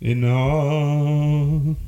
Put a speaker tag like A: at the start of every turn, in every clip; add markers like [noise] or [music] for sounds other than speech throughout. A: i natt.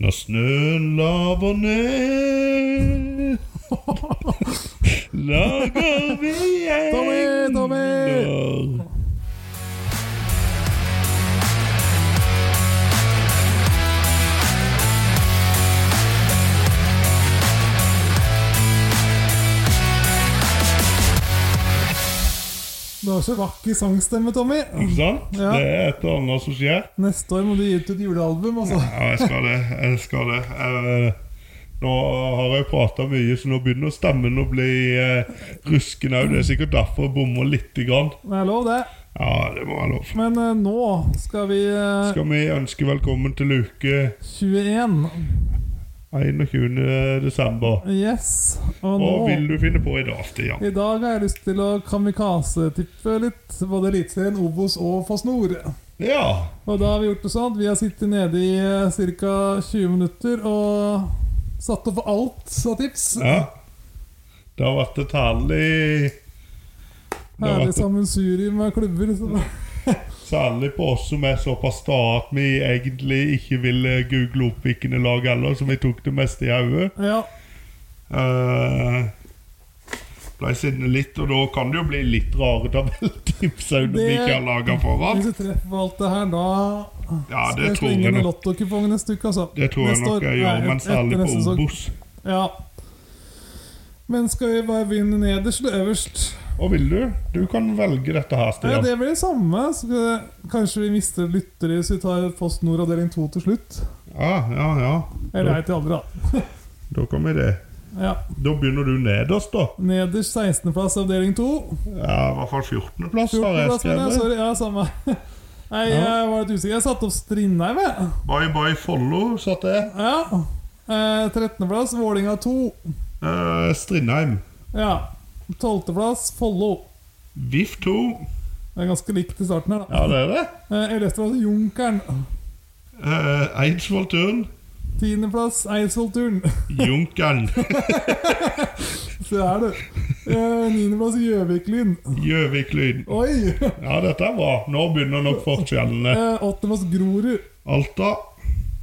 A: Når snøen laver
B: [laughs]
A: ned, lager vi
B: Tommy, Tommy!
A: engler.
B: Du har så vakker sangstemme, Tommy.
A: Ikke sant?
B: Ja.
A: Det er et eller annet som skjer.
B: Neste år må du gi ut et julealbum, altså.
A: Ja, jeg skal det. Jeg skal det. Eh, nå har jeg prata mye, så nå begynner stemmen å bli eh, rusken òg. Det er sikkert derfor jeg bommer lite grann.
B: Det er lov, det.
A: Ja, det må være lov.
B: Men eh, nå skal vi eh,
A: Skal vi ønske velkommen til uke
B: 21.
A: 21. desember.
B: Yes. Og
A: Hva
B: nå
A: vil du finne på i dag, Stian?
B: I dag har jeg lyst til å kamikaze-tippe litt. Både Eliteserien, Obos og Foss Nord.
A: Ja.
B: Og da har vi gjort det sånn at vi har sittet nede i ca. 20 minutter og satt opp alt av tips.
A: ja. Det har vært et herlig det har
B: Herlig
A: vært et
B: sammensurium av klubber. Så.
A: Særlig på oss som er såpass sta at vi egentlig ikke ville google opp hvilke lag heller, så vi tok det meste i hodet.
B: Ja.
A: Uh, ble sinnet litt, og da kan det jo bli litt rare [laughs] tabelltips òg når vi
B: Det-
A: ikke har laga foran.
B: Hvis vi treffer alt det her, da
A: Ja,
B: skal
A: det
B: jeg
A: tror
B: slenge
A: jeg
B: med
A: nok,
B: lottokupongen et stykke, altså.
A: det tror jeg
B: Neste
A: nok
B: år-
A: jeg
B: nei,
A: gjør, men
B: etter
A: særlig på
B: neste sesong.
A: Obos.
B: Ja. Men skal vi bare begynne nederst eller øverst?
A: Og vil du? Du kan velge dette her,
B: Ja,
A: Stian.
B: Det blir det samme. Så vi- kanskje vi mister lyttere hvis vi tar Post Nord avdeling 2 til slutt.
A: Ja, ja, ja.
B: Eller nei til alle, da. [laughs]
A: Da kan vi det.
B: Ja.
A: Da begynner du nederst, da.
B: Nederst 16.-plass avdeling 2.
A: Ja, I hvert fall 14.-plass, har jeg
B: 14.-plass, mener jeg.
A: skrevet.
B: Sorry. Ja, samme. [laughs] Nei,
A: Ja.
B: jeg var litt usikker. Jeg satte opp Strindheim, jeg.
A: Bye bye Follo, satt jeg.
B: Ja. Eh, 13.-plass Vålinga 2.
A: Eh, Strindheim.
B: Ja. 12.-plass Follo.
A: VIF 2.
B: Det er ganske likt i starten her, da.
A: Ja, det er det.
B: Eh, 11.-plass Junkeren.
A: Eh, Eidsvoll Turn.
B: 10.-plass Eidsvollturen. [laughs]
A: Junkeren.
B: Se her, du. Eh, 9.-plass Gjøviklyn.
A: Gjøvik-Lyn.
B: Oi!
A: Ja, dette er bra. Nå begynner nok forskjellene.
B: Eh, Åttendeplass Grorud.
A: Alta,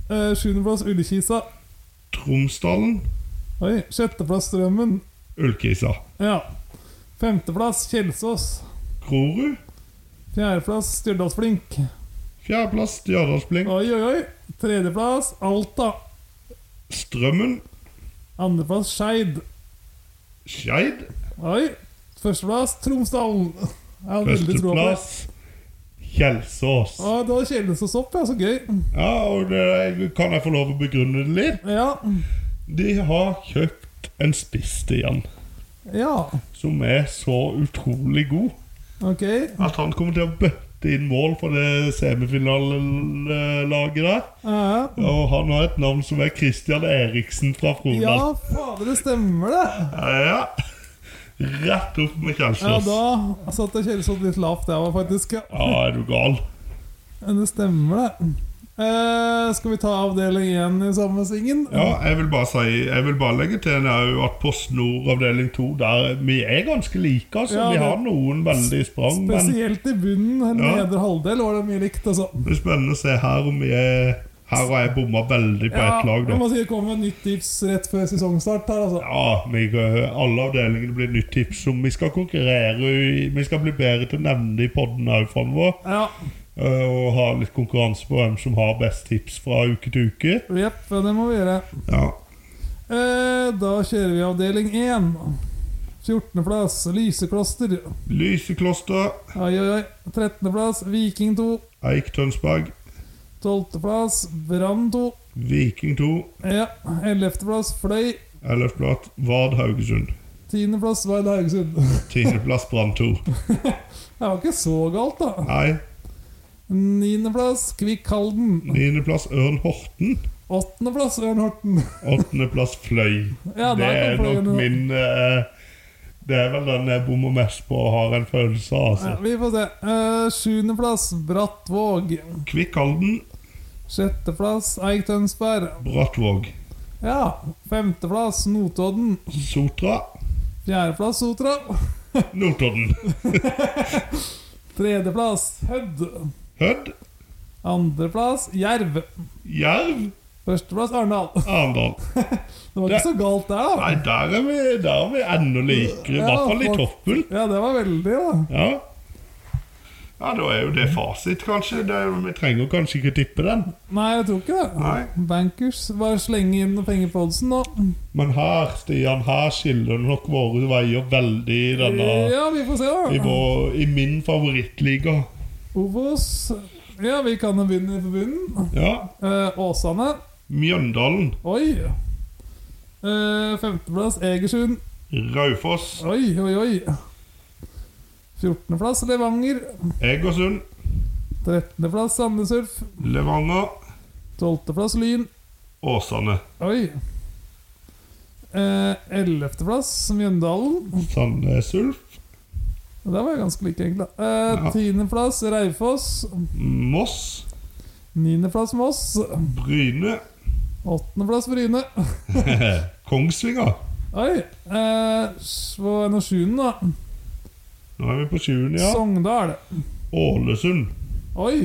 B: Eh, Sjuendeplass Ullekisa.
A: Tromsdalen,
B: Oi. Sjetteplass Strømmen.
A: Ullkisa.
B: Ja. Femteplass Kjelsås.
A: Grorud,
B: Fjerdeplass Stjørdalsblink.
A: fjerdeplass Stjørdalsblink.
B: Oi, oi, oi. Tredjeplass Alta.
A: Strømmen,
B: Andreplass Skeid.
A: Skeid.
B: Oi. Førsteplass Tromsdalen. Jeg har veldig troa på det.
A: Førsteplass Kjelsås.
B: Å, da Kjelsås opp, ja. Så gøy.
A: Ja, og det, kan jeg få lov å begrunne det litt?
B: Ja.
A: De har kjøpt en spiss til han
B: Ja.
A: som er så utrolig god
B: Ok.
A: at han kommer til å bøtte inn mål for det semifinalelaget der.
B: Eh,
A: Og han har et navn som er Christian Eriksen fra
B: ja,
A: Frodal.
B: fader, det stemmer, det.
A: Ja. Rett opp med
B: Ja,
A: Kjelsås. Ja,
B: da satte jeg Kjelsås litt lavt, jeg var faktisk. ja.
A: er du gal?
B: Men det stemmer, det. Eh, skal vi ta avdeling én i samme svingen?
A: Ja, jeg vil bare si Jeg vil bare legge til en au at Post Nord avdeling 2 der, Vi er ganske like, altså.
B: Ja,
A: vi
B: det-
A: har noen veldig sprang, men det
B: Spesielt i bunnen, en
A: Ja.
B: nedre halvdel, var det mye likt. Altså.
A: blir spennende å se her om vi er Her har jeg bomma veldig på ett lag,
B: jeg
A: da.
B: må si det kommer et nytt tips rett før sesongstart. her altså.
A: Ja, vi, alle avdelingene blir nytt tips om vi skal konkurrere i- Vi skal bli bedre til å nevne det i podden òg framover.
B: Ja,
A: Og ha litt konkurranse på hvem som har best tips fra uke til uke.
B: jepp, det må vi gjøre.
A: Ja,
B: Eh, da kjører vi avdeling én. 14.-plass Lysekloster.
A: Lysekloster,
B: Oi, oi, oi. 13.-plass Viking 2.
A: Eik Tønsberg,
B: 12.-plass Brann 2.
A: Viking 2,
B: Ja. 11.-plass Fløy.
A: 11. plass Vard Haugesund,
B: 10.-plass Vard Haugesund.
A: 10. plass Brann 2.
B: [laughs] Det var ikke så galt, da.
A: Nei,
B: Niendeplass Kvikk Halden.
A: 9. plass Ørn Horten,
B: Åttendeplass Ørn Horten.
A: 8. plass Fløy.
B: Ja,
A: Det
B: der
A: er
B: kom
A: nok
B: Fløyen.
A: min eh, Det er vel den jeg bommer mest på og har en følelse av.
B: Ja,
A: Altså.
B: vi får se. Eh, Sjuendeplass Brattvåg.
A: Kvikk Halden,
B: Sjetteplass Eik Tønsberg.
A: Brattvåg,
B: Ja. Femteplass Notodden.
A: Sotra,
B: Fjerdeplass Sotra.
A: Notodden,
B: Tredjeplass Hødd.
A: Hødd,
B: Andreplass Jerv.
A: Jerv,
B: Førsteplass Arendal. [laughs]
A: Arendal.
B: Det var ikke så galt der, da.
A: Nei, der er vi, der er vi enda likere, i
B: Ja,
A: hvert fall i
B: folk-
A: toppen.
B: Ja, det var veldig, da.
A: Ja. ja, da er jo det fasit, kanskje. Det, vi trenger kanskje ikke tippe den.
B: Nei, jeg tror ikke det.
A: Nei.
B: Bankers. Bare slenge inn noen penger på oddsen nå.
A: Men her, Stian, her skiller nok våre veier veldig i denne
B: Ja, vi får se,
A: i,
B: da.
A: vår, I min favorittliga.
B: Obos. Ja, vi kan jo begynne på bunnen.
A: Ja.
B: Eh, Åsane.
A: Mjøndalen,
B: Oi. Eh, femteplass Egersund.
A: Raufoss,
B: Oi, oi, oi. 14.-plass Levanger.
A: Egersund,
B: 13.-plass Sandnesurf.
A: Levanger,
B: 12.-plass Lyn.
A: Åsane,
B: Oi. Eh, 11.-plass Mjøndalen.
A: Sandnes Ulf,
B: Det var jo ganske like, egentlig. da. Eh,
A: Ja.
B: 10.-plass Raufoss.
A: Moss,
B: 9.-plass Moss.
A: Bryne, [laughs]
B: 8.-plass Bryne.
A: Kongsvinger.
B: Oi. Eh, på NO7-en, da.
A: Nå er vi på sjuende, ja.
B: Sogndal.
A: Ålesund,
B: Oi.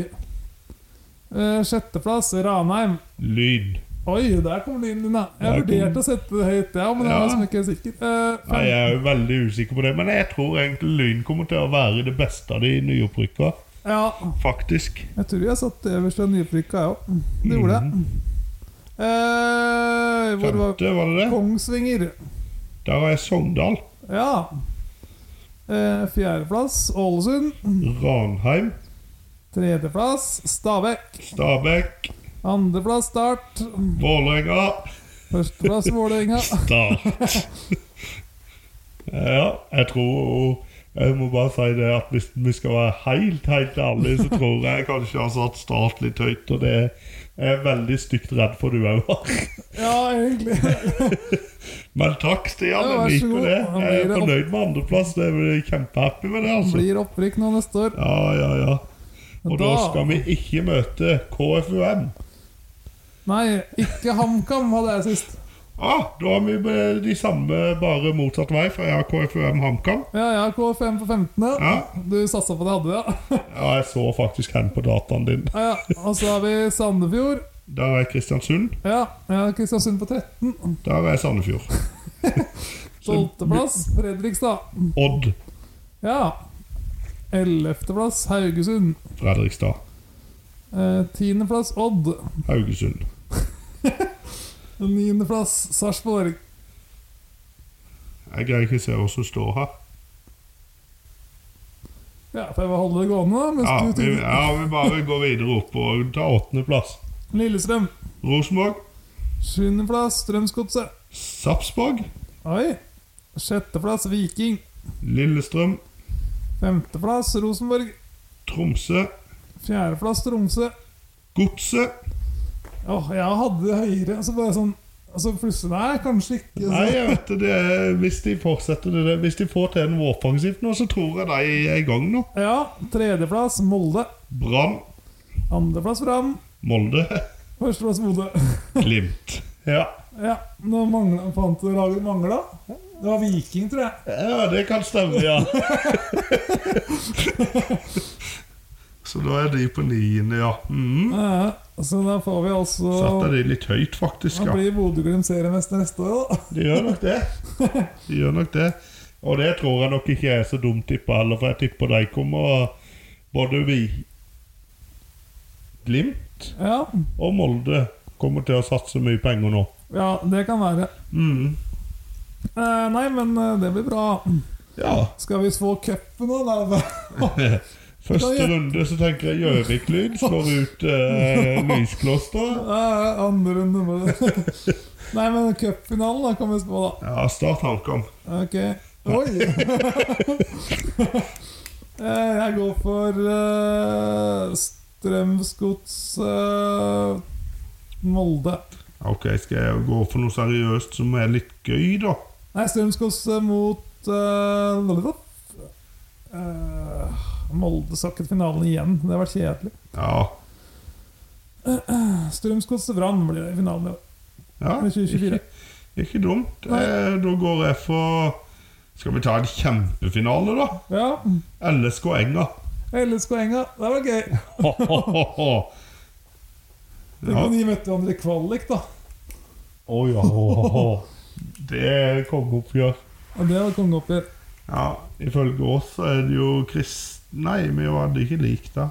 B: Eh, Sjetteplass Ranheim.
A: Lyn.
B: Oi, der kom det inn din, da. Jeg
A: Der kom-
B: vurderte å sette det høyt, ja, men jeg var
A: Ja.
B: liksom ikke sikker. Eh, fem-
A: Nei, Jeg er jo veldig usikker på det, men jeg tror egentlig Lyn kommer til å være det beste av de nyopprykka.
B: Ja,
A: Faktisk.
B: jeg tror jeg satt øverst av nyopprykka, jeg òg. Det gjorde jeg. Eh, hvor var
A: Mhm. Femte, var det det?
B: Kongsvinger.
A: Der er Sogndal,
B: Ja. Eh, Fjerdeplass Ålesund.
A: Ranheim,
B: Tredjeplass Stabæk.
A: Stabæk,
B: Andreplass Start.
A: Vålerenga,
B: Førsteplass Vålerenga.
A: Start. Ja, jeg tror Jeg må bare si det at hvis vi skal være helt, helt ærlige, så tror jeg kanskje jeg har satt Start litt høyt, og det er jeg veldig stygt redd for du òg var.
B: Ja, egentlig.
A: [laughs] Men takk, Stian.
B: Ja, vær
A: jeg liker
B: så god.
A: det.
B: Da
A: Jeg
B: blir
A: er
B: det opp-
A: fornøyd med andreplass. Jeg er kjempehappy med det. altså.
B: Blir opprykk nå neste år.
A: Ja, ja, ja. Og da,
B: Da-
A: skal vi ikke møte KFUM.
B: Nei, ikke HamKam hadde jeg sist.
A: Ah, da har vi be- de samme, bare motsatt vei, for jeg har KFUM HamKam.
B: Ja, jeg har K5 på 15.
A: Ja.
B: Du satsa på det hadde, ja.
A: Ja, jeg så faktisk hen på dataen din.
B: ja. ja. Og så har vi Sandefjord.
A: Der er Kristiansund.
B: Ja, jeg har Kristiansund på 13.
A: Der er Sandefjord.
B: Tolvteplass Fredrikstad.
A: Odd
B: Ja. Ellevteplass Haugesund.
A: Fredrikstad.
B: Eh, Tiendeplass Odd.
A: Haugesund.
B: Niendeplass Sarpsborg.
A: Jeg greier ikke å se hva som står her.
B: Ja, får jeg bare holde det gående, da? Mens
A: Ja,
B: du
A: vi,
B: tenker.
A: ja, vi bare går videre opp og tar åttendeplass.
B: Lillestrøm.
A: Rosenborg.
B: Sjuendeplass Strømsgodset.
A: Sarpsborg.
B: Oi. Sjetteplass Viking.
A: Lillestrøm.
B: Femteplass Rosenborg.
A: Tromsø.
B: Fjerdeplass Tromsø.
A: Godset.
B: Åh, jeg hadde det høyere. Så bare sånn altså Plutselig Nei, kanskje ikke.
A: Nei, jeg vet det, det er- hvis de fortsetter det der- Hvis de får til noe offensivt nå, så tror jeg de er i gang nå.
B: Så, ja. Tredjeplass Molde.
A: Brann,
B: Andreplass Brann.
A: Molde, [laughs]
B: Førsteplass Bodø. [laughs]
A: Glimt. Ja.
B: Ja, nå mangla Fant du laget mangla? Det var Viking, tror jeg.
A: ja, det kan stemme, ja. [laughs] så da er de på niende, ja. Mm.
B: Eh, så da får vi altså
A: Setter de litt høyt, faktisk.
B: Da
A: ja.
B: blir Bodø-Glimt seriemester neste år, da. [laughs]
A: De gjør nok det. De gjør nok det. Og det tror jeg nok ikke er så dumt tippa heller, for jeg tipper de kommer Både vi Glimt
B: Ja,
A: og Molde kommer til å satse mye penger nå.
B: ja det kan være.
A: Mm.
B: Eh, nei, men eh, det blir bra.
A: Ja. [laughs]
B: Skal vi få cupen nå, da? [laughs]
A: Første runde så tenker jeg Gjøvik-lyd slår ut eh, Lyskloster.
B: Eh, andre runde bare. [laughs] Nei, men cupfinalen da kan vi spå, da.
A: Ja, Start HamKam.
B: Ok. Oi! [laughs] Eh, jeg går for uh, Strømsgods eh, Molde.
A: Ok, skal jeg gå for noe seriøst som er litt gøy, da?
B: Nei, Strømsgods eh, mot uh, eh, Molde sakket finalen igjen. Det har vært kjedelig.
A: Ja.
B: Strømsgods Brann blir det i finalen i år.
A: ja
B: I 2024.
A: Ikke, ikke dumt.
B: Nei.
A: Eh, da går jeg for Skal vi ta en kjempefinale, da?
B: Ja.
A: LSK Enga. [laughs]
B: LSK Enga. Det var gøy.
A: Ho, ho, ho, ho.
B: Tenk om de møtte hverandre i kvalik, da.
A: Å ja. å, å. [laughs] Det er kongeoppgjør.
B: Ja, det var kongeoppgjør.
A: Ja, ifølge oss så er det jo Krist... Nei, vi hadde ikke likt det.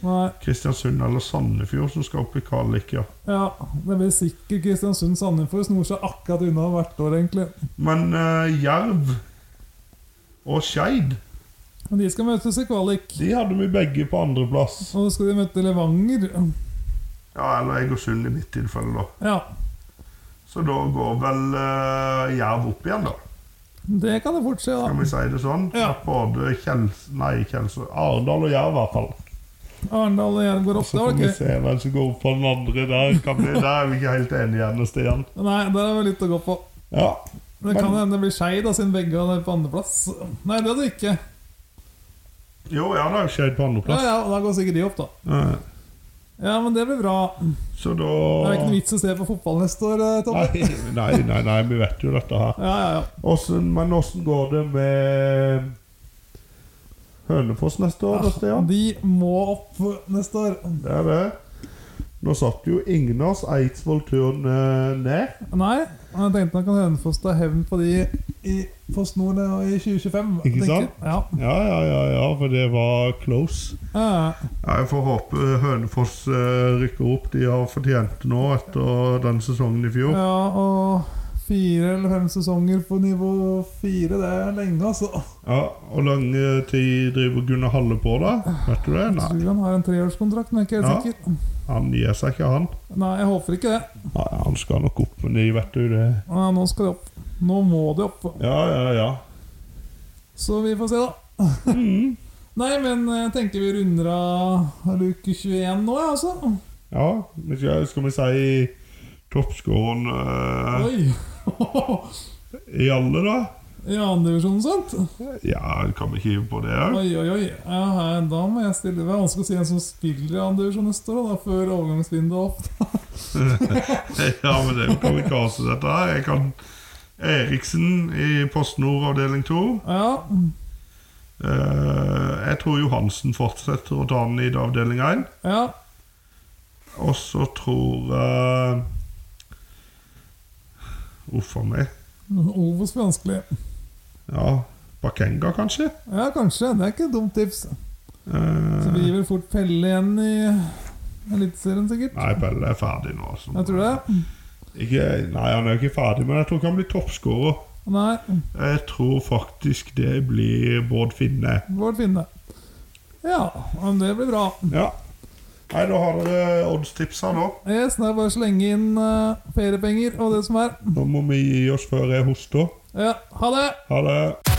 B: Nei,
A: Kristiansund eller Sandefjord som skal opp i kvalik, ja.
B: ja, Det blir sikkert Kristiansund-Sandefjord. Snor seg akkurat unna hvert år, egentlig.
A: Men eh, Jerv og Skeid,
B: Men de skal møtes i kvalik.
A: de hadde vi begge på andreplass.
B: Og så skal de møte Levanger.
A: Ja, eller Egersund i mitt tilfelle, da.
B: Ja,
A: Så da går vel eh, Jerv opp igjen, da.
B: det kan det fort skje,
A: Kan vi
B: da.
A: si det sånn?
B: Ja.
A: Både Kjels... Nei, Kjels... Arendal og Jerv, i hvert fall.
B: Arendal og Jerv går opp.
A: Så
B: Det
A: får
B: var
A: vi
B: gøy.
A: se hvem som går opp på den andre der. Kan vi, der er vi ikke helt enige igjen, Stian.
B: Nei, der er det litt å gå på.
A: Ja.
B: Det kan hende det blir Skeid, da, siden begge er på andreplass. Nei, det hadde de ikke.
A: Jo, ja, det er jo Skeid på
B: Ja,
A: andreplass.
B: ja, Da går sikkert de opp, da.
A: Eh,
B: Ja, men det blir bra.
A: Så da
B: Det er ikke noe vits å se på fotball neste år, eh, Tom.
A: Nei, nei, nei, nei, vi vet jo dette her.
B: Ja, ja, ja.
A: Åssen- men åssen går det med Hønefoss neste år, da, Stian?
B: De må opp neste år.
A: Det er det. Nå satt jo Ignaz Eidsvoll turen eh, ned.
B: Nei, jeg tenkte han kan Hønefoss ta hevn på de i Post Nord nå i 2025.
A: Ikke
B: tenker jeg.
A: sant? Ja, ja, ja, ja, for det var close.
B: Ja. ja.
A: Jeg får håpe Hønefoss eh, rykker opp. De har fortjent det nå etter den sesongen i fjor.
B: ja, og fire eller fem sesonger på nivå fire, det er lenge, altså.
A: Ja, Hvor lang eh, tid driver Gunnar Halle på, da? Vet du det?
B: Jeg
A: Nei,
B: tror han har en treårskontrakt, men jeg er ikke helt
A: Ja.
B: sikker.
A: han gir seg ikke, han.
B: Nei, jeg håper ikke det.
A: Nei, Han skal nok opp med de, vet du det.
B: Nei, nå skal de opp. Nå må de opp.
A: Ja, ja, ja.
B: Så vi får se, da.
A: Mm.
B: [laughs] Nei, men jeg tenker vi runder av luke 21 nå, jeg, altså.
A: Ja, men skal, skal vi si toppskåren eh,
B: Oi!
A: i alle, da?
B: [laughs] I andredivisjonen, sant?
A: Ja, kan vi hive på det òg?
B: Oi, oi, oi. Ja, her, da må jeg stille Det er vanskelig å si en som spiller i andre divisjon neste år, da, før overgangsvinduet er opp.
A: [laughs] ja, men det kan vi kase dette her. Jeg kan Eriksen i Post Nord avdeling 2.
B: Ja,
A: Eh, jeg tror Johansen fortsetter å ta den i avdeling 1.
B: ja.
A: Og så tror uh, Uff a meg.
B: Ovos blir vanskelig.
A: Ja, Bakenga, kanskje?
B: Ja, kanskje. Det er ikke et dumt tips. Så
A: Eh,
B: blir vel fort Pelle igjen i Eliteserien, sikkert.
A: nei, Pelle er ferdig nå. Så.
B: Jeg tror det.
A: Ikke, nei, han er jo ikke ferdig, men jeg tror ikke han blir toppskårer.
B: Nei,
A: Jeg tror faktisk det blir Bård Finne.
B: Bård Finne. Ja, men det blir bra.
A: Ja. Nei, da har dere oddstipsa nå.
B: Yes, nå er det bare å slenge inn eh, feriepenger og det som er.
A: Nå må vi gi oss før jeg hoster.
B: Ja, ha det!
A: Ha det.